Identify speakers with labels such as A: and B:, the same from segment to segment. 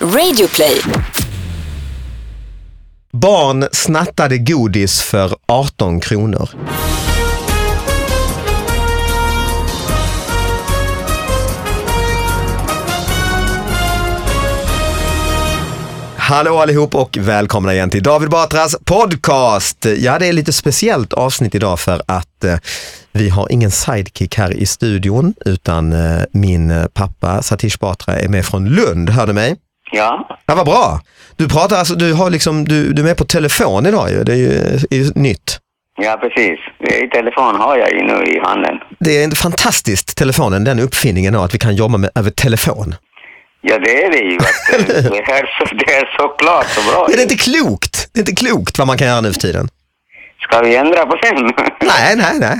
A: Radioplay.
B: Barn snattade godis för 18 kronor. Hallå allihop och välkomna igen till David Batras podcast. Ja, det är lite speciellt avsnitt idag för att eh, vi har ingen sidekick här i studion utan eh, min eh, pappa Satish Batra är med från Lund, hör du mig?
C: Ja,
B: Ja, vad bra. Du pratar alltså, du har liksom, du, du är med på telefon idag ju. Det är ju, är ju nytt.
C: ja precis. I telefon har jag ju nu i handen.
B: Det är fantastiskt, telefonen, den uppfinningen av att vi kan jobba med, över telefon.
C: Ja, det är det ju. Att, eh, det, är så, det är så klart så bra.
B: Det är inte klokt! Det är inte klokt vad man kan göra nu för tiden.
C: Ska vi ändra på sen?
B: Nej, nej, nej.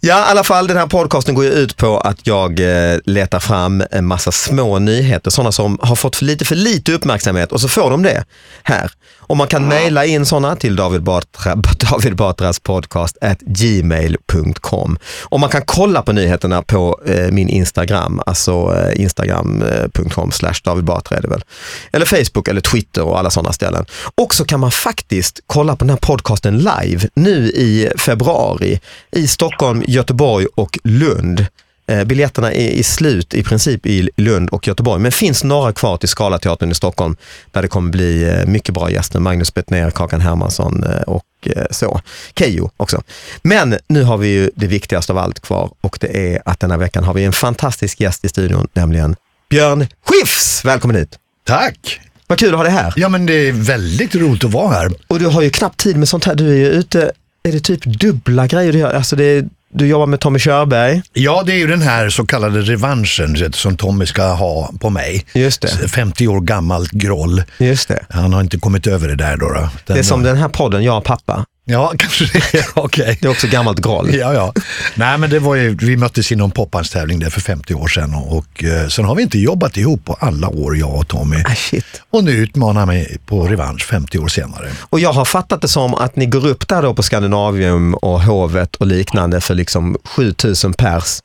B: Ja, i alla fall den här podcasten går ju ut på att jag eh, letar fram en massa små nyheter, sådana som har fått för lite för lite uppmärksamhet och så får de det här. Och man kan mejla in sådana till David, Batra, David Batras podcast at gmail.com. Och man kan kolla på nyheterna på eh, min Instagram, alltså eh, instagram.com slash David Batra är det väl. Eller Facebook eller Twitter och alla sådana ställen. Och så kan man faktiskt kolla på den här podcasten live nu i februari i Stockholm, Göteborg och Lund. Eh, Biljetterna är i slut i princip i Lund och Göteborg, men finns några kvar till Scalateatern i Stockholm där det kommer bli eh, mycket bra gäster. Magnus Bettner, Kakan Hermansson eh, och eh, så. Kejo också. Men nu har vi ju det viktigaste av allt kvar och det är att denna veckan har vi en fantastisk gäst i studion, nämligen Björn Skifs. Välkommen hit!
D: Tack!
B: Vad kul att ha dig här.
D: Ja men det är väldigt roligt att vara här.
B: Och du har ju knappt tid med sånt här. Du är ju ute, är det typ dubbla grejer du gör? Alltså det är, du jobbar med Tommy Körberg.
D: Ja, det är ju den här så kallade revanschen du vet, som Tommy ska ha på mig.
B: Just det.
D: S- 50 år gammalt groll.
B: Just det.
D: Han har inte kommit över det där då. då. Den-
B: Det är som den här podden, jag och pappa.
D: Ja, kanske det. är. Okej.
B: Det är också gammalt groll.
D: Ja, ja. Nej, men det var ju, vi möttes i någon popbandstävling där för 50 år sedan och, och eh, sen har vi inte jobbat ihop på alla år, jag och Tommy.
B: Ah, shit.
D: Och nu utmanar han mig på revansch 50 år senare.
B: Och jag har fattat det som att ni går upp där då på Skandinavium och Hovet och liknande för liksom 7000 pers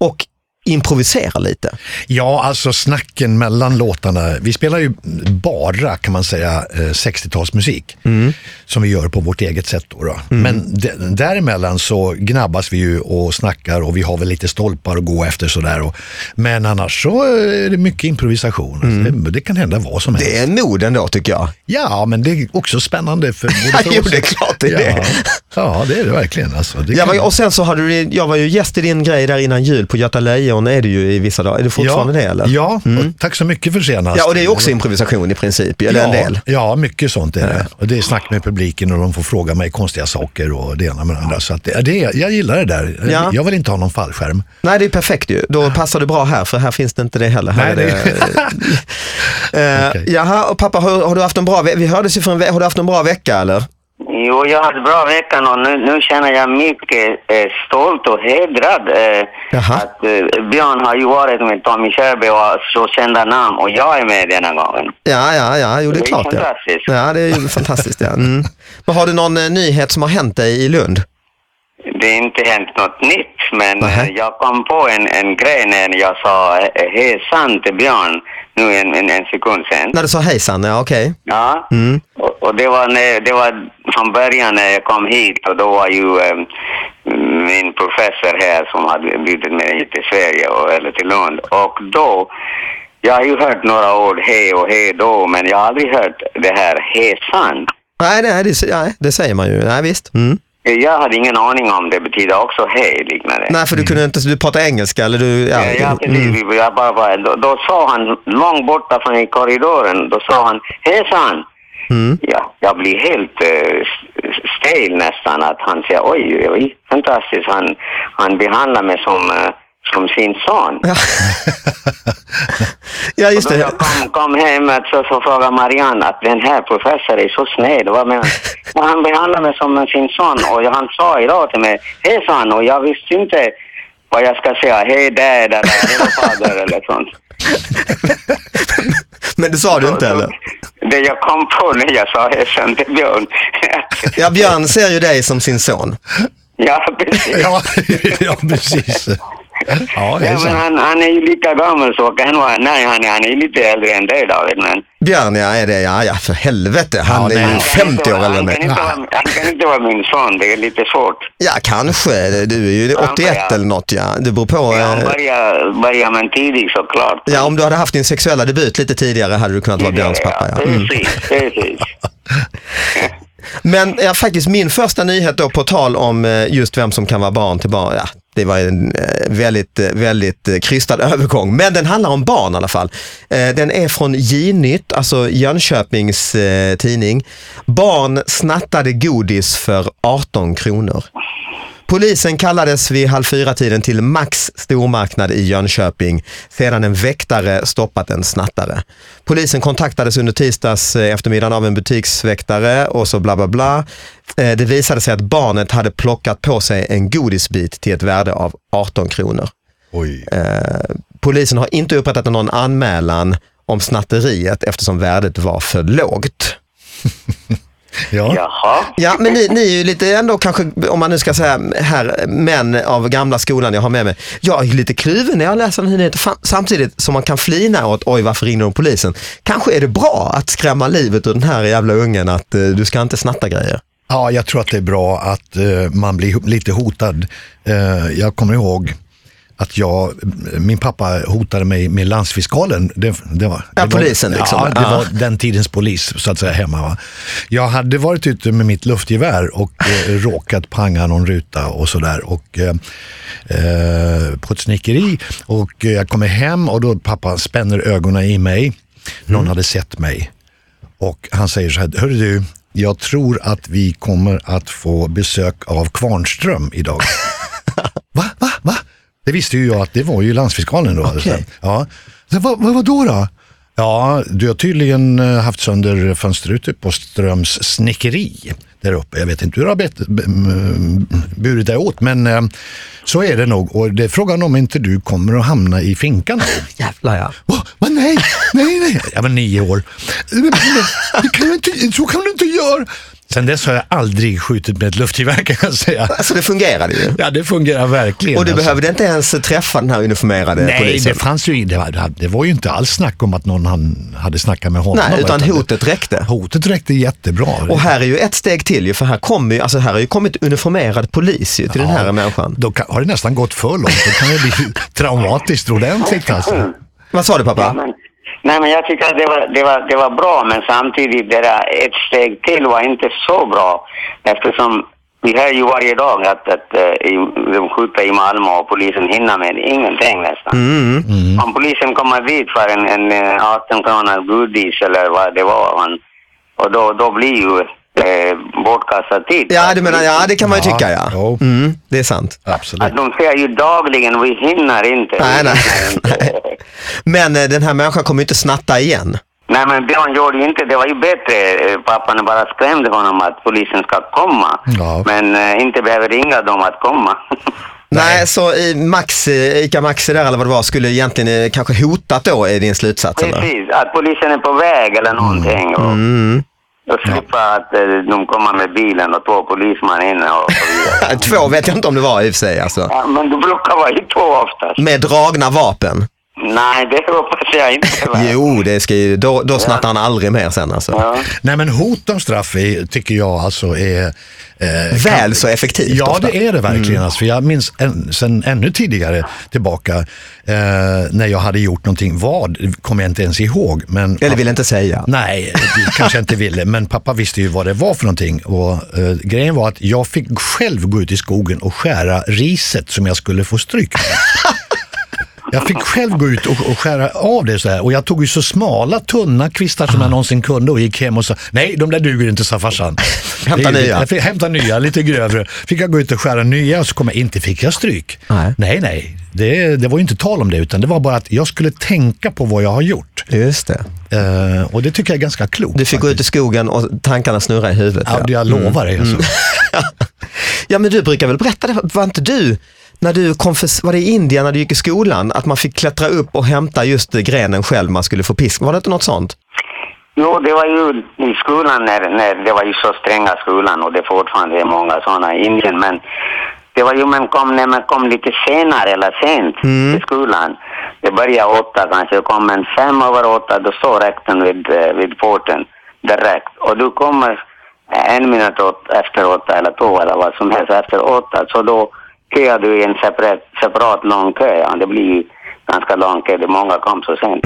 B: och improviserar lite.
D: Ja, alltså snacken mellan låtarna. Vi spelar ju bara, kan man säga, eh, 60-talsmusik.
B: Mm.
D: Som vi gör på vårt eget sätt. Då då. Men d- däremellan så gnabbas vi ju och snackar och vi har väl lite stolpar att gå efter sådär. Och, men annars så eh, är det mycket improvisation. Alltså, Det, det kan hända vad som helst.
B: Mm. Det är mod ändå tycker jag.
D: Ja, men det är också spännande för både för
B: Jo,
D: oss-
B: det är klart det är
D: ja.
B: det.
D: Ja, det är det verkligen. Alltså, det
B: Jag
D: kan-
B: var, och sen så hade du, jag var ju gäst i din grej där innan jul på Göta Lejon är det ju i vissa dagar. Är det fortfarande det eller? Mm.
D: Ja, och tack så mycket för senast.
B: ja, och det är ju också improvisation i princip, eller
D: ja,
B: en del.
D: Ja, mycket sånt är det. Och det är snack med publiken och de får fråga mig konstiga saker och det ena med det andra. Så att det, det, jag gillar det där.
B: Ja.
D: Jag vill inte ha någon fallskärm.
B: Nej, det är perfekt ju. Då passar det bra här, för här finns det inte det heller. Här
D: Nej,
B: är det... Eh,
D: Okej.
B: Jaha, och pappa, har, har du haft en bra vecka? Vi hördes ju för en ve- Har du haft en bra vecka eller?
C: Jo, jag hade bra veckan och nu, nu känner jag mycket eh, stolt och hedrad eh,
B: Jaha.
C: att eh, Björn har ju varit med Tommy Körberg och har så kända namn och jag är med denna gången.
B: Ja, ja, ja, jo det är
C: Det är
B: klart. Ja.
C: fantastiskt.
B: ja, det är ju fantastiskt. Ja. Mm. Men har du någon eh, nyhet som har hänt dig i Lund?
C: Det har inte hänt något nytt, men
B: Nähä.
C: eh, jag kom på en, en grej när jag sa eh, hej sant Björn nu en, en, en sekund sen.
B: När du sa hejsan, ja okej.
C: Ja, och, och det var när, det var från början när jag kom hit och då var ju eh, min professor här som hade bjudit mig hit till Sverige och, eller till Lund och då jag har ju hört några ord hej och hej då, men jag har aldrig hört det här hej sant.
B: Nej, nej, det, nej, det säger man ju. Nej, visst. Mm.
C: Jag hade ingen aning om det betyder också hej liknande.
B: Nej, för du kunde inte, du pratar engelska eller du... Ja,
C: Ja, ja,
B: mm.
C: precis. Vi- Jag bara, bara, då, då sa han, långt borta från i korridoren, då sa han hejsan.
B: Mm.
C: Ja, jag blir helt eh, s- stel nästan att han säger oj, oj, oj fantastiskt. Han, han behandlar mig som, eh, som sin son.
B: Ja. ja, just
C: Då
B: det.
C: jag kom, kom hem att så, så frågade Marianne att den här professorn är så snäll. Vad menar han? Och han behandlar mig som eh, sin son och han sa idag till mig, hej son, och jag visste inte vad jag ska säga, hej dad eller hej fader eller sånt.
B: Men det sa du inte eller?
C: Det jag kom på när jag sa hejsan till Björn.
B: Ja, Björn ser ju dig som sin son.
C: ja, precis.
D: Ja, ja precis. Ja, det är
C: Ja, men
D: sant.
C: han, han är ju lika gammal så kan han vara, nej han är, han är ju lite äldre än dig David
B: Mm,
C: men
B: Björn, ja, är det, ja, ja för helvete. Han
D: Ja,
B: är
D: nej.
B: ju
C: han kan inte
B: 50 år
C: vara-
B: äldre än
C: han kan
B: mig.
C: inte vara- Han kan inte vara min son, det är lite svårt.
B: Ja, kanske. Du är ju 81
C: ja.
B: eller något. Ja. Det beror på.
C: Ja,
B: eh,
C: börja, börja men tidigt såklart.
B: Ja, om du hade haft din sexuella debut lite tidigare hade du kunnat vara Björns pappa. Ja. Mm.
C: Precis, precis.
B: Men ja, faktiskt min första nyhet då på tal om eh, just vem som kan vara barn till barn. Ja, det var en eh, väldigt, eh, väldigt eh, krystad övergång, men den handlar om barn i alla fall. Eh, Den är från J-nytt, alltså Jönköpings eh, tidning. Barn snattade godis för 18 kronor. Polisen kallades vid halv fyra-tiden till Max stormarknad i Jönköping sedan en väktare stoppat en snattare. Polisen kontaktades under tisdags eh, eftermiddagen av en butiksväktare och så bla bla bla. Eh, Det visade sig att barnet hade plockat på sig en godisbit till ett värde av 18 kronor. Eh,
D: Oj.
B: Polisen har inte upprättat någon anmälan om snatteriet eftersom värdet var för lågt.
D: Ja.
C: Jaha.
B: Ja, men ni, ni är ju lite ändå kanske, om man nu ska säga här, män av gamla skolan jag har med mig. Jag är lite kluven när jag läser den här nyheten, Fan, samtidigt som man kan flina åt, oj varför ringer de polisen? Kanske är det bra att skrämma livet ur den här jävla ungen att eh, du ska inte snatta grejer.
D: ja, jag tror att det är bra att eh, man blir ho- lite hotad. Eh, jag kommer ihåg att jag, min pappa hotade mig med landsfiskalen. Det, det var,
B: Ja,
D: det var,
B: polisen liksom.
D: Ja, det
B: Ja.
D: var den tidens polis så att säga hemma. Va? Jag hade varit ute med mitt luftgevär och eh, råkat panga någon ruta och sådär. Och, eh, eh, på ett snickeri och eh, jag kommer hem och då pappa spänner ögonen i mig. Någon
B: Mm.
D: hade sett mig. Och han säger så här, hörru du, jag tror att vi kommer att få besök av Kvarnström idag. va, va, va? Det visste ju jag att det var ju landsfiskalen då.
B: Okej.
D: Ja. Så, vad, vad, vad då då? Ja, du har tydligen eh, haft sönder fönsterrutor på Ströms snickeri där uppe. Jag vet inte hur du har bet- b- m- burit dig åt, men eh, så är det nog. Och det är frågan om inte du kommer att hamna i finkan då.
B: Jävlar ja.
D: Va? Va? Nej, nej, nej. Jag var nio år. Men, men, Det kan du inte, så kan du inte göra. Sen dess har jag aldrig skjutit med ett luftgevär kan jag säga.
B: Alltså det fungerade ju.
D: Ja, det fungerar verkligen.
B: Och du
D: alltså.
B: behövde inte ens träffa den här uniformerade
D: Nej,
B: polisen.
D: det fanns ju det var, det var ju inte alls snack om att någon han hade snackat med honom.
B: Nej, utan
D: det-
B: hotet räckte.
D: Hotet räckte jättebra.
B: Och här är ju ett steg till ju, för här, kommer ju, alltså här har ju kommit uniformerad polis ju, till den här människan.
D: Då kan, har det nästan gått för långt. Då kan det bli traumatiskt ordentligt
C: Mm.
D: alltså.
B: Vad sa du pappa?
C: Men, nej, men jag tycker att det var, det, var, det var bra, men samtidigt det där ett steg till var inte så bra. Eftersom vi hör ju varje dag att, att eh, i- de skjuter i Malmö och polisen hinner med ingenting nästan.
B: Mm,
C: Om polisen kommer dit för en, en eh, 18 kronor godis eller vad det var, man, och då, då blir ju eh, bortkastad tid.
B: Ja, du menar, ja det kan man ju
D: Ja,
B: tycka ja.
D: jo.
B: Mm, det är sant.
D: Absolut.
C: Att de säger ju dagligen, vi hinner inte.
B: Nej,
C: vi
B: nej.
C: hinner inte."
B: Men eh, den här människan kommer ju inte snatta igen.
C: Nej, men Björn gjorde ju inte det. var ju bättre. eh, Pappan bara skrämde honom att polisen ska komma.
D: Ja.
C: Men eh, inte behöver ringa dem att komma.
B: Nej, så i Max, eh, Ica Maxi där eller vad det var skulle egentligen eh, kanske hotat då är din slutsats? Eller?
C: Precis, att polisen är på väg eller någonting. Och, och slippa att eh, de kommer med bilen och två polisman in och så vidare.
B: Två vet jag inte om det var i och för sig alltså.
C: ja, men du brukar vara i två oftast.
B: Med dragna vapen.
C: Nej, det hoppas jag inte. va?
B: Jo, det ska ju, då, då snattar han aldrig mer sen alltså.
C: Ja.
D: Nej men hot om straff är, tycker jag alltså är... eh,
B: Väl så effektivt
D: Ja,
B: ofta. Mm.
D: det är det verkligen. Alltså, för jag minns en, sen ännu tidigare tillbaka eh, när jag hade gjort någonting. Vad kommer jag inte ens ihåg. Men
B: Eller vill inte säga.
D: Nej, det kanske jag inte ville, men pappa visste ju vad det var för någonting. Och, eh, grejen var att jag fick själv gå ut i skogen och skära riset som jag skulle få stryk med. Jag fick själv gå ut och, och skära av det så här. Och jag tog ju så smala, tunna kvistar som
B: Ah.
D: jag någonsin kunde och gick hem och sa nej, de där duger inte, sa farsan.
B: Hämta
D: Det är ju-
B: nya.
D: Jag fick hämta nya, lite grövre. Fick jag gå ut och skära nya och så kom jag, inte fick jag stryk.
B: Nej.
D: nej. nej. Det, det var ju inte tal om det, utan det var bara att jag skulle tänka på vad jag har gjort.
B: Just det.
D: Eh, och det tycker jag är ganska klokt.
B: Du fick Mm. gå ut i skogen och tankarna snurra i huvudet.
D: Ja,
B: ja.
D: jag lovar dig. Alltså.
B: Ja men du brukar väl berätta det, var inte du, när du kom för, var det i Indien när du gick i skolan, att man fick klättra upp och hämta just eh, grenen själv man skulle få pisk, var det inte något sånt?
C: Jo, det var ju i skolan när, när det var ju så stränga skolan och det fortfarande är många sådana i Indien. Men det Det var ju men kom, när man kom lite senare eller sent till skolan. Det började åtta kanske, jag kom en fem över åtta, då står rektorn vid, eh, vid porten direkt. Och du kommer en minut åt, efter åtta eller två eller vad som helst efter åtta, så då köar du i en separat, separat lång kö. Ja, det blir ju ganska lång kö, det är många kom så sent.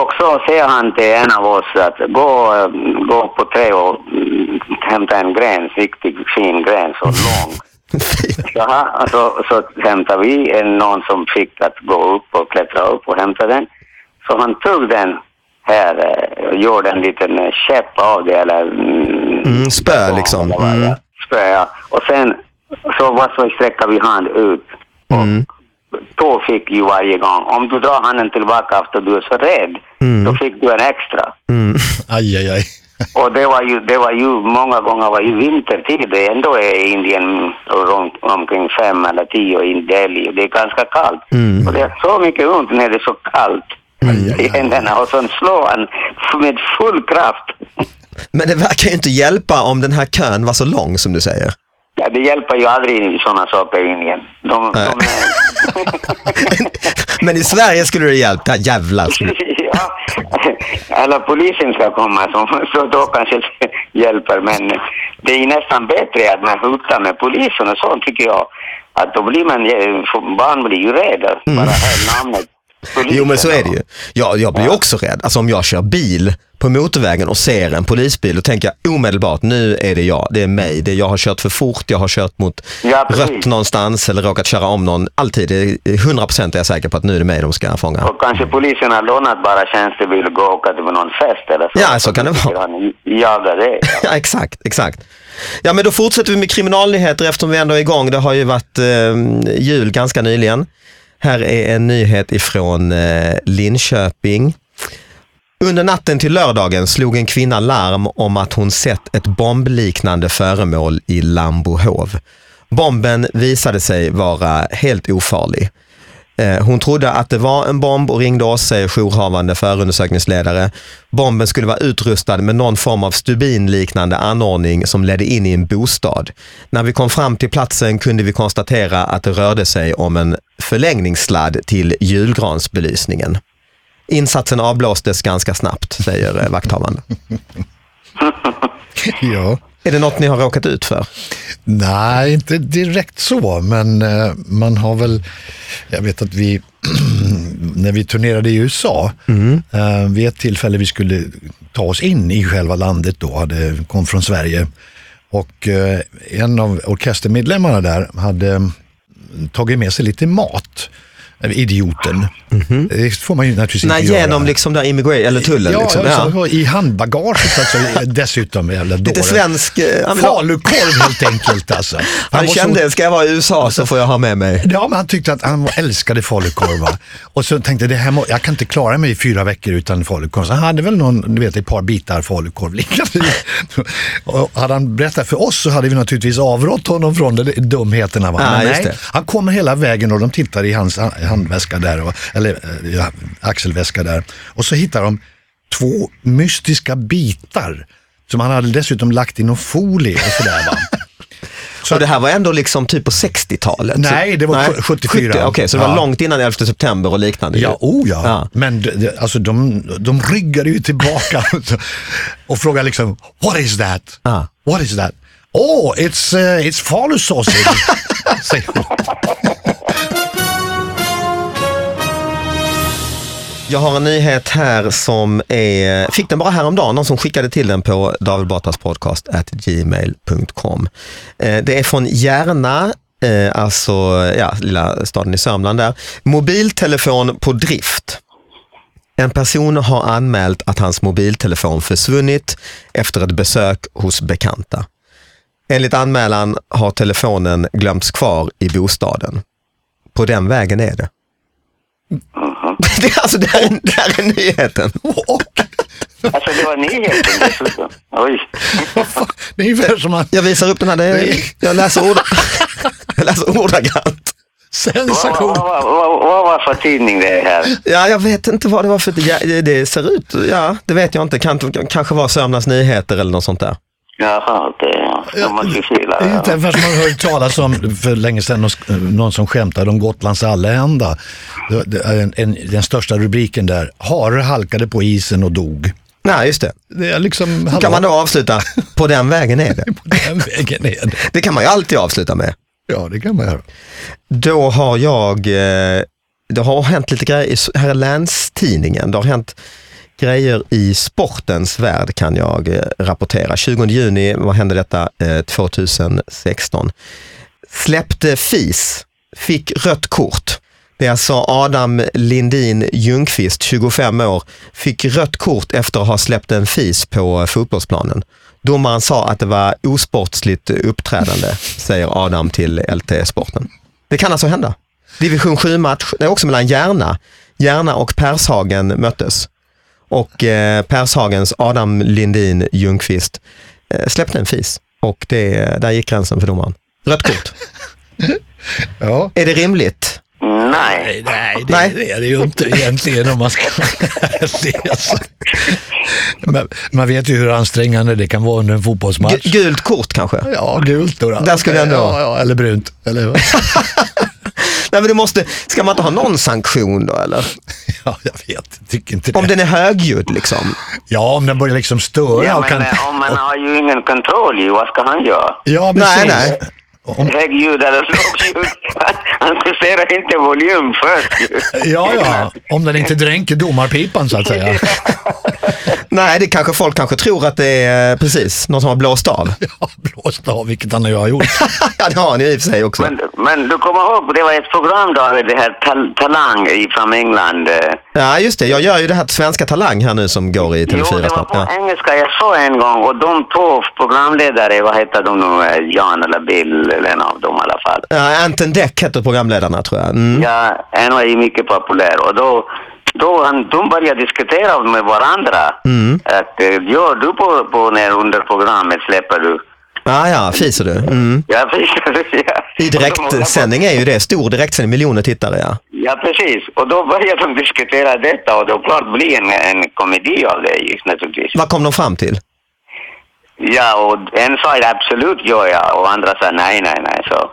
C: Och så säger han till en av oss att gå, eh, gå på trä och mm, hämta en gräns, riktigt fin gräns och lång. Så, här, så, så hämtade vi en, någon som fick att gå upp och klättra upp och hämta den. Så han tog den här eh, och gjorde en liten eh, käpp av det eller mm,
B: Mm, spö liksom.
C: Ja, det var det.
B: Mm.
C: Spö, ja. Och sen så, var så sträckade vi hand ut. Och
B: Mm.
C: Då fick ju varje gång, om du drar handen tillbaka efter du är så rädd,
B: Mm.
C: då fick du en extra.
D: Aj, aj, aj.
C: Och det var ju, det var ju många gånger var ju vintertid, det ändå är Indien runt, omkring fem eller tio i Delhi. Det är ganska kallt.
B: Mm.
C: Och det är så mycket ont när det är så kallt i händerna. Och sen slår han med full kraft.
B: Men det verkar ju inte hjälpa om den här kön var så lång som du säger.
C: Ja, det hjälper ju aldrig sådana saker i Indien. De, de
B: Nej. Men i Sverige skulle det hjälpt. Ja, jävlar. skulle-
C: ja, eller polisen ska komma, så, så då kanske det hjälper. Men det är nästan bättre att man hotar med polisen och sånt, tycker jag. Att då blir man, ju- för barn blir ju rädda, bara hör namnet. polisen.
B: Mm. Jo men så är det ju. Jag, jag blir ju också rädd. Alltså om jag kör bil på motorvägen och ser en polisbil, då tänker jag omedelbart, nu är det jag, det är mig, det är jag har kört för fort, jag har kört mot
C: Ja, precis.
B: rött någonstans eller råkat köra om någon. Alltid, det är 100% är jag säker på att nu är det mig de ska fånga.
C: Och kanske polisen har lånat bara tjänstebil och gå och åka till någon fest eller så.
B: Ja, så kan det vara.
C: Han jagar det.
B: Ja, exakt, exakt. Ja, men då fortsätter vi med kriminalnyheter eftersom vi ändå är igång. Det har ju varit eh, jul ganska nyligen. Här är en nyhet ifrån eh, Linköping. Under natten till lördagen slog en kvinna larm om att hon sett ett bombliknande föremål i Lambohov. Bomben visade sig vara helt ofarlig. Eh, Hon trodde att det var en bomb och ringde oss, säger jourhavande förundersökningsledare. Bomben skulle vara utrustad med någon form av stubinliknande anordning som ledde in i en bostad. När vi kom fram till platsen kunde vi konstatera att det rörde sig om en förlängningssladd till julgransbelysningen. Insatsen avblåstes ganska snabbt, säger eh, vakthavande.
D: Ja.
B: Är det något ni har råkat ut för?
D: Nej, inte direkt så, men eh, man har väl, jag vet att vi, när vi turnerade i USA,
B: Mm.
D: eh, vid ett tillfälle vi skulle ta oss in i själva landet då, hade, kom från Sverige, och eh, en av orkestermedlemmarna där hade eh, tagit med sig lite mat, Eh, idioten. Det får man ju naturligtvis
B: Mhm. Nej,
D: inte
B: genom
D: göra.
B: liksom där immigration, eller tullen.
D: Ja,
B: liksom.
D: ja,
B: ja.
D: så- i handbagaget alltså, dessutom. Jävla
B: Lite
D: dåre.
B: svensk... eh, ja, men-
D: Falukorv helt enkelt alltså. Han,
B: Han
D: var så-
B: kände, ska jag vara i USA så får jag ha med mig.
D: Ja, men han tyckte att han älskade falukorv. va? Och så tänkte jag, det här må, jag kan inte klara mig i fyra veckor utan falukorv. Så han hade väl någon, du vet, ett par bitar falukorv liggande. Och hade han berättat för oss så hade vi naturligtvis avrått honom från det, dumheterna. Va?
B: Ah,
D: men
B: just
D: nej,
B: det.
D: han kommer hela vägen och de tittar i hans ha- handväska där, va? eller eh, ja, axelväska där. Och så hittar de två mystiska bitar som han hade dessutom lagt i någon folie och sådär. Va?
B: och det här var ändå liksom typ på 60-talet?
D: Nej, det var
B: Nej,
D: 74.
B: 70, Okej, så det var
D: Ja.
B: långt innan 11 september och liknande? ju.
D: Ja, oh ja.
B: Ja.
D: Men d- d- alltså, de, de ryggade ju tillbaka och frågade liksom, what is that?
B: Ja.
D: What is that? Oh, it's, uh, it's falu sausage. säger hon.
B: Jag har en nyhet här som är, fick den bara häromdagen, någon som skickade till den på davidbatraspodcast.gmail.com. Eh, Det är från Järna, eh, alltså ja, lilla staden i Sörmland där. Mobiltelefon på drift. En person har anmält att hans mobiltelefon försvunnit efter ett besök hos bekanta. Enligt anmälan har telefonen glömts kvar i bostaden. På den vägen är det.
C: Mm-hmm.
B: Det, är alltså, det, här, är- det här är nyheten.
D: och,
C: Alltså det var nyheten dessutom. Oj.
D: vad fan, det är ungefär som att
B: Jag visar upp den här, det är, jag, läser ord, jag läser ordagrant.
C: Vad
D: sensation.
C: vad- vad- vad- vad var för tidning det här?
B: Ja, jag vet inte vad det var för, ja, det- det ser ut, ja det vet jag inte, kan, kanske var Sörmlands Nyheter eller något sånt där.
C: Jaha, okej. ja. Ja, de var ju fula.
D: Det är Inte ens man hört talas om för länge sedan någon- någon som skämtade om Gotlands allehanda. Det- det är en- en- Den största rubriken där, hare halkade på isen och dog.
B: Nej, just det.
D: Det är liksom,
B: Kan man då avsluta, på den vägen är det.
D: På den vägen är det.
B: Det kan man ju alltid avsluta med.
D: Ja, det kan man göra.
B: Då har jag, eh, det har hänt lite grejer i s- här i Länstidningen. Det har hänt grejer i sportens värld kan jag eh, rapportera. 20 juni, vad hände detta? Eh, 2016. Släppte FIS, fick rött kort. Det är alltså Adam Lindin Ljungqvist, 25 år, fick rött kort efter att ha släppt en FIS på eh, fotbollsplanen. Domaren sa att det var osportsligt uppträdande, säger Adam till LT Sporten. Det kan alltså hända. Division 7-match, det är också mellan Järna. Järna och Pershagen möttes. Och eh, Pershagens Adam Lindin Ljungqvist eh, släppte en fis. Och det, där gick gränsen för domaren. Rött kort.
D: Ja.
B: är det rimligt?
C: Nej.
D: Nej, nej, det,
B: Nej.
D: det är det ju inte egentligen om man ska vara ärlig, alltså. Men Man vet ju hur ansträngande det kan vara under en
B: Gu-
D: fotbollsmatch.
B: gult kort kanske?
D: Ja, gult då. då.
B: Där skulle jag ändå-
D: ja, ja, eller brunt. Eller, vad?
B: Nej, men du måste, ska man inte ha någon sanktion då eller?
D: ja, jag vet, jag tycker inte det.
B: Om den är högljudd liksom.
D: Ja, om den börjar liksom störa.
C: Ja,
D: och
C: men
D: kan...
C: eh, om man har ju ingen kontroll ju, vad ska han göra?
D: ja
B: Nej,
D: precis.
B: nej.
C: Högljudd eller lågljud. Han- Han justerar inte volym först ju.
D: Ja, ja, om den inte dränker domarpipan så att säga.
B: Nej, det kanske folk kanske tror att det är eh, precis någon som har blåst av.
D: Ja, blåst av, vilket han och jag har gjort.
B: ja, det har han ju i och för sig också.
C: Men, men du kommer ihåg, det var ett program David, det här tal- Talang i- från England. eh.
B: Ja, just det. Jag gör ju det här Svenska Talang här nu som går i
C: Jo,
B: TV4
C: det var
B: snart.
C: på
B: Ja.
C: engelska jag såg en gång och de två programledare, vad heter de nu, eh, Jan eller Bill eller en av dem i alla fall.
B: Ja, Anton Däck heter programledarna tror jag. Mm.
C: Ja, en var ju mycket populär och då, då han, de började diskutera med varandra.
B: Hmm.
C: Att eh, gör du på, på när under programmet släpper du?
B: Ja, ja, fiser du. Mm.
C: Ja, precis. Ja.
B: I direktsändning är ju det, stor direktsändning, miljoner tittare ja.
C: Ja, precis. Och då började de diskutera detta och då klart blir en, en komedi av det ju naturligtvis.
B: Vad kom de fram till?
C: Ja, och en sa absolut gör jag och andra sa nej, nej, nej. Så.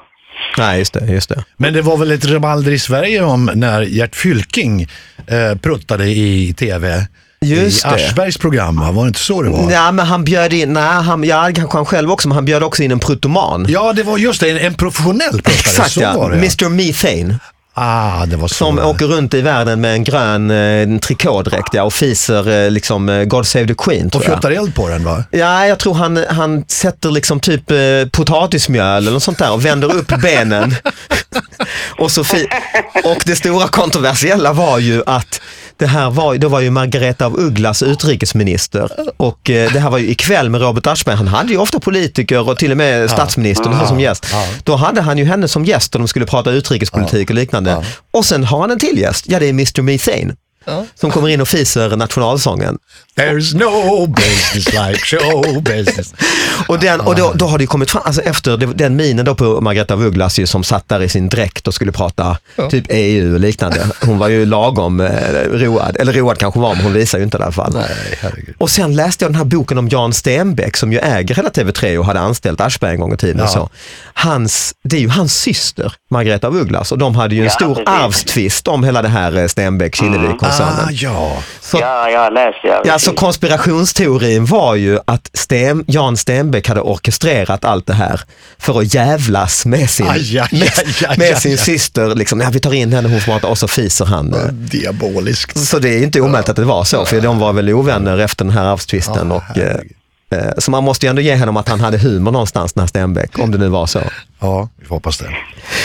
B: Nej, just det, just det.
D: Men det var väl ett rabalder i Sverige om när Gert Fylking eh, pruttade i tv.
B: Just
D: I
B: det.
D: Aschbergs program, va? var det inte så det var?
B: Ja, men han bjöd in, nej, han, ja, kanske han själv också, men han bjöd också in en pruttoman.
D: Ja, det var just det, en, en professionell pruttare.
B: Exakt
D: så
B: ja,
D: var det.
B: Mr Methane.
D: Ah, det var så.
B: Som
D: det.
B: åker runt i världen med en grön eh, en trikådräkt ja, och fiser eh, liksom eh, God Save the Queen
D: Och
B: tror jag.
D: fjuttar eld på den va?
B: Ja, jag tror han, han sätter liksom typ eh, potatismjöl eller något sånt där och vänder upp benen. och, så fi- och det stora kontroversiella var ju att det här var, ju- då var ju Margareta af Ugglas utrikesminister och eh, det här var ju ikväll med Robert Aschberg. Han hade ju ofta politiker och till och med statsministern och så som gäst.
D: Ja.
B: Då hade han ju henne som gäst och de skulle prata utrikespolitik och liknande. Och sen har han en till gäst, ja det är Mr Methane. Som kommer in och fiser nationalsången.
D: There's no business like show business.
B: Och, den, och då, då har det ju kommit fram, alltså efter det- den minen då på Margareta af Ugglas ju, som satt där i sin dräkt och skulle prata typ EU och liknande. Hon var ju lagom eh, road, eller road kanske hon var men hon visar ju inte i alla fall.
D: Nej, herregud.
B: Och sen läste jag den här boken om Jan Stenbeck som ju äger hela TV3 och hade anställt Aschberg en gång i tiden. Och
D: Ja.
B: så. Hans, det är ju hans syster Margareta af Ugglas och de hade ju en
C: Ja,
B: stor
C: precis.
B: arvstvist om hela det här eh, Stenbeck-Kinnevik-koncernen.
D: Ah, ja.
B: Så-
C: Ja, jag har läst det.
B: Ja, så konspirationsteorin var ju att Sten, Jan Stenbeck hade orkestrerat allt det här för att jävlas med sin,
D: Aj, aj, aj,
B: med,
D: aj,
B: med
D: aj,
B: sin
D: aj.
B: syster. Liksom, ja, vi tar in henne, hon får prata och så fiser han.
D: Diaboliskt.
B: Så det är inte omöjligt att det var så, för de var väl ovänner efter den här arvstvisten.
D: Ja,
B: och, eh, eh, så man måste ju ändå ge honom att han hade humor någonstans, den här Stenbeck, om det nu var så.
D: Ja, vi får hoppas det.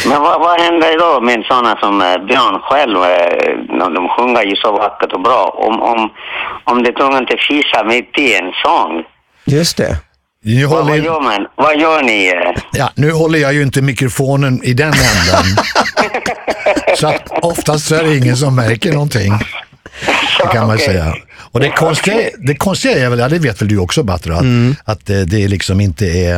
C: Men vad, vad händer då med sådana som eh, Björn själv? eh, De, de sjunger ju så vackert och bra. Om, om, om det tungan inte fisar mitt i en sång,
B: Just det.
D: Nu
C: vad, vad
D: håller,
C: gör man? Vad gör ni? eh?
D: ja, nu håller jag ju inte mikrofonen i den änden. så att oftast så är det ingen som märker någonting. Det kan man
C: Okej.
D: säga. Och det konstiga, det konstiga är väl, ja, det vet väl du också Batra, att,
B: Mm.
D: att eh, det liksom inte är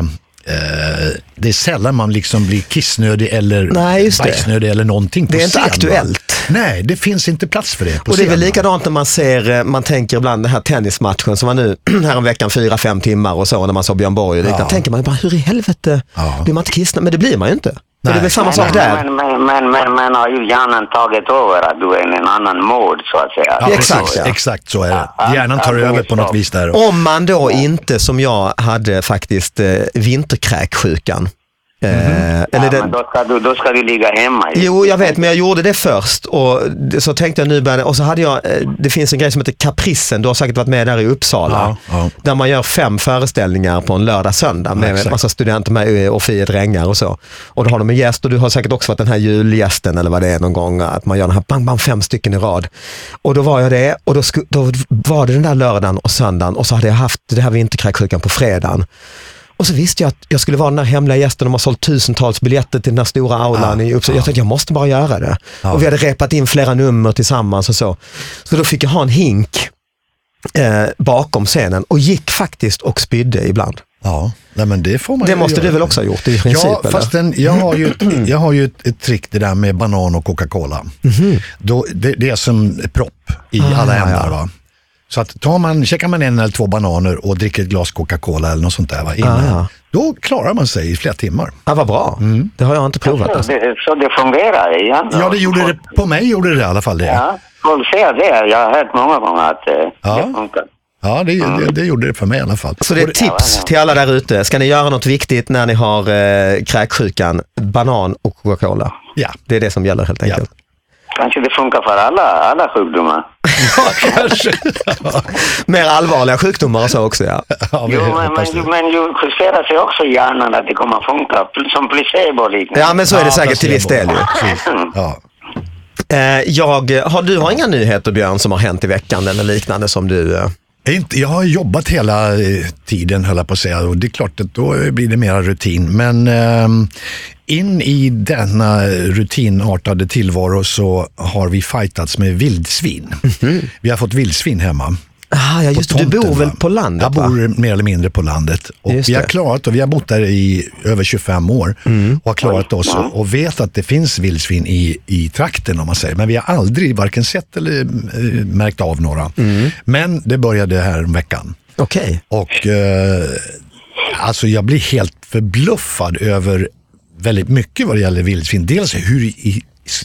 D: eh, det är sällan man liksom blir kissnödig eller
B: Nej, just det.
D: bajsnödig eller någonting på
B: Det är inte
D: scen, va?
B: aktuellt.
D: Nej, det finns inte plats för det på
B: Och det är väl
D: scenen.
B: likadant när man ser, eh, man tänker ibland den här tennismatchen som var nu häromveckan fyra, fem timmar och så när man såg Björn Borg. Ja.
D: Ja.
B: tänker man bara, hur i helvete
D: Ja.
B: blir man inte kissnödig? Men det blir man ju inte. Men det är
D: Nej.
B: väl samma
C: Men-
B: sak där.
C: Men, men, men, men, men har ju hjärnan tagit över att du är i en annan mod så att säga.
D: Ja,
C: Så-
D: precis,
B: Exakt,
D: exakt,
B: ja.
D: så är
C: Ja,
D: det. Hjärnan
C: ja,
D: tar
C: det är
D: över på något
C: klart.
D: vis där.
B: Om man då inte som jag hade faktiskt eh, vinterkräksjukan. Eh, eller
C: Ja,
B: den,
C: men då, ska du, då ska du ligga hemma ju.
B: Jo, jag vet, men jag gjorde det först och det- så tänkte jag nu börja, och så hade jag, eh, det finns en grej som heter Caprissen, du har säkert varit med där i Uppsala,
D: Ja, ja.
B: där man gör fem föreställningar på en lördag söndag med
D: exakt.
B: massa studenter med eh, och fiet regnar och så. Och då har de en gäst och du har säkert också varit den här julgästen eller vad det är någon gång, att man gör den här bang, bang, fem stycken i rad. Och då var jag det och då, sku, då var det den där lördagen och söndagen och så hade jag haft det här vinterkräksjukan på fredagen. Och så visste jag att jag skulle vara den där hemliga gästen. De har sålt tusentals biljetter till den här stora
D: Ah,
B: aulan i Uppsala. Jag tänkte jag måste bara göra det. Och vi hade repat in flera nummer tillsammans och så. Så då fick jag ha en hink eh, bakom scenen och gick faktiskt och spydde ibland.
D: Ja, nej, men det får man
B: Det
D: ju
B: måste
D: göra.
B: du väl också ha gjort i princip?
D: Ja,
B: eller? Mm.
D: fast den, jag har ju, ett, jag har ju ett, ett trick det där med banan och Coca-Cola.
B: Mhm.
D: Då, det, det är som propp i
B: Ah,
D: alla ändar. Va? Så att tar man, käkar man en eller två bananer och dricker ett glas Coca-Cola eller något sånt där va? innan,
B: Ah.
D: då klarar man sig i flera timmar.
B: ja, vad bra. Det har jag inte provat.
C: Så
B: Alltså.
C: det, så det fungerar igen.
D: Ja, det gjorde det, på mig gjorde det i alla fall det. Ja,
C: Ja, folk säger det. Jag har hört många gånger att eh,
D: Ja.
C: det funkar.
D: det, det, det gjorde det för mig i alla fall.
B: Så det är
D: Och
B: ett tips till alla där ute. Ska ni göra något viktigt när ni har eh, kräksjukan, banan och Coca-Cola.
D: Ja,
B: Det är det som gäller helt
D: Ja.
B: enkelt.
C: Kanske det funkar för alla, alla sjukdomar.
D: ja kanske.
B: Mer allvarliga sjukdomar och så också ja.
D: Ja, vi
C: Jo, men, men,
D: hoppas det.
C: ju- men ju justerar sig också hjärnan att det kommer funka, pl- som placebo liknande.
B: Ja men så är det
D: Ja,
B: säkert till viss del
D: placebo.
B: ju.
D: Ja.
B: Eh, jag, har, du har inga nyheter Björn som har hänt i veckan eller liknande som du... Eh,
D: Jag är Inte, jag har jobbat hela eh, tiden höll jag på att säga och det är klart att då blir det mera rutin. Men ehm, in i denna rutinartade tillvaro så har vi fightats med vildsvin. Vi har fått vildsvin hemma.
B: ah, ja,
D: på
B: just, det. du
D: tomten,
B: bor väl
D: va?
B: på landet
D: Jag
B: va?
D: bor mer eller mindre på landet. Och
B: Just
D: vi har
B: det. Mm.
D: klarat och vi har bott där i över 25 år och har klarat oss och, och vet att det finns vildsvin i, i trakten om man säger. Men vi har aldrig varken sett eller eh, märkt av några.
B: Mm.
D: Men det började här om veckan.
B: Okej.
D: Och eh, alltså jag blir helt förbluffad över väldigt mycket vad det gäller vildsvin. Dels hur i,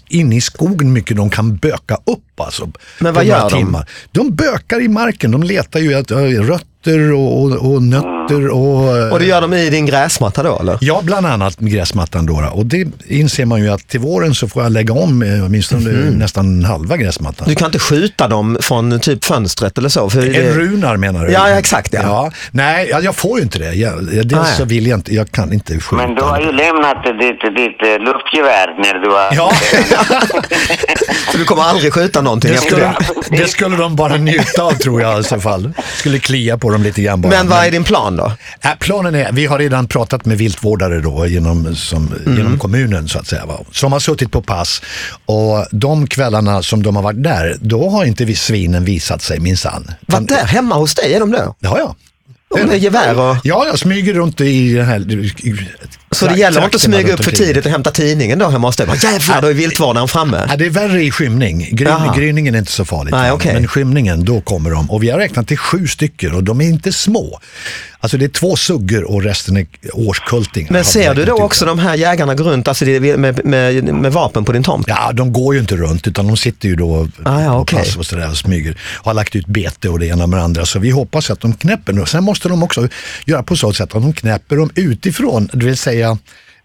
D: in i skogen mycket de kan böka upp alltså.
B: Men
D: på
B: vad
D: några
B: gör de?
D: De bökar i marken. De letar ju efter eh, rötter och, och, och nötter och... eh,
B: Och det gör de i din gräsmatta då eller?
D: Ja, bland annat med gräsmattan då. då. Och det inser man ju att till våren så får jag lägga om eh, åtminstone
B: Mhm.
D: nästan halva gräsmattan.
B: Du kan inte skjuta dem från typ fönstret eller så? För det,
D: En runar menar du?
B: Eh, Ja, ja, exakt, ja.
D: Nej, jag, jag får ju inte det. Jag, jag, dels
B: Nej.
D: så vill jag inte, jag kan inte skjuta.
C: Men du har ju lämnat ditt, ditt eh, luftgevär när du har...
D: Ja,
B: så du kommer aldrig skjuta någonting
D: det
B: efter
D: skulle,
B: det?
D: det skulle de bara njuta av tror jag i så fall. Skulle klia på dem lite grann bara.
B: Men vad är din plan då?
D: Äh, planen är, vi har redan pratat med viltvårdare då genom, som,
B: Mm.
D: genom kommunen så att säga. Va? Som har suttit på pass och de kvällarna som de har varit där, då har inte vi svinen visat sig minsann.
B: Vad där hemma hos dig? Är de det?
D: Det har jag.
B: Och med gevär och...
D: Ja, jag smyger runt i den här... i-
B: Så det gäller att inte
D: trakterna
B: smyga
D: runt
B: upp för
D: omkring.
B: tidigt och hämta tidningen då hemma hos dig? Bara, Jävlar, då är viltvårdaren framme.
D: Ja, det är värre i skymning. Gryn,
B: Jaha.
D: gryningen är inte så farligt.
B: Nej, okej.
D: Men skymningen, då kommer de. Och vi har räknat till sju stycken och de är inte små. Alltså det är två suggor och resten är årskultingar.
B: Men
D: Har vi
B: ser du
D: räknat
B: då
D: ut.
B: också de här jägarna gå runt alltså det är med, med, med vapen på din tomt?
D: Ja, de går ju inte runt utan de sitter ju då
B: Ah, ja,
D: på
B: okej.
D: pass och, sådär och smyger. Har lagt ut bete och det ena med det andra. Så vi hoppas att de knäpper nu. Sen måste de också göra på så sätt att de knäpper dem utifrån, det vill säga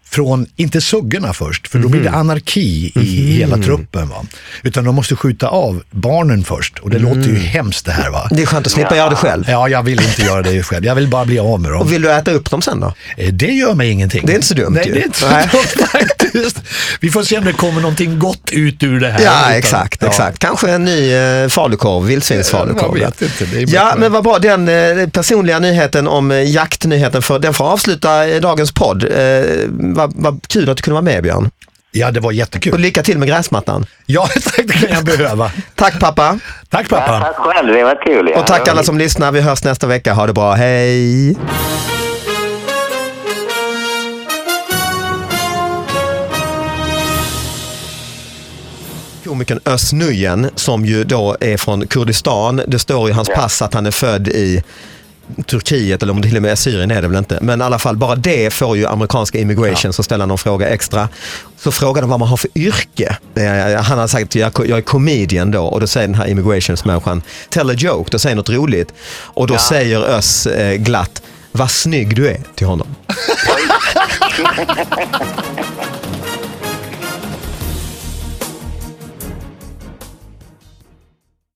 D: från, inte suggorna först, för då blir det
B: Mhm.
D: anarki i hela truppen. Va? Utan de måste skjuta av barnen först och det låter ju hemskt det här. Va?
B: Det är skönt att slippa göra Mm. det själv.
D: Ja, jag vill inte göra det själv. Jag vill bara bli av med dem.
B: Och vill du äta upp dem sen då?
D: Eh, Det gör mig ingenting.
B: Det är inte så dumt
D: Nej,
B: ju.
D: det är inte så
B: Nej.
D: dumt faktiskt. Vi får se om det kommer någonting gott ut ur det här.
B: Ja,
D: Utan-
B: exakt.
D: ja.
B: exekt. Kanske en ny eh, falukorv, vildsvinsfalukorv.
D: Ja, jag vet inte. Det är mycket
B: ja,
D: väl.
B: men vad bra. Den eh, personliga nyheten om eh, jaktnyheten, för, den får avsluta eh, dagens podd. Eh, vad, vad kul att du kunde vara med Björn.
D: Ja, det var
B: Och
D: jättekul.
B: lycka till med gräsmattan.
D: Ja, tack, det kan jag behöva.
B: Tack pappa
D: Tack
C: Ja,
D: pappa.
C: tack själv, det var kul. Ja.
B: och tack alla som lyssnar. Vi hörs nästa vecka. Ha det bra. Hej! komikern Özz Nujen som ju då är från Kurdistan. Det står i hans pass att han är född i Turkiet eller om det till och med är Syrien är det väl inte. Men i alla fall, bara det får ju amerikanska immigration så ställer någon fråga extra. Så frågar de vad man har för yrke. Eh, Han har sagt jag jag är comedian då och då säger den här immigrationsmänniskan tell a joke, då säger något roligt. Och då säger Özz eh, glatt vad snygg du är till honom.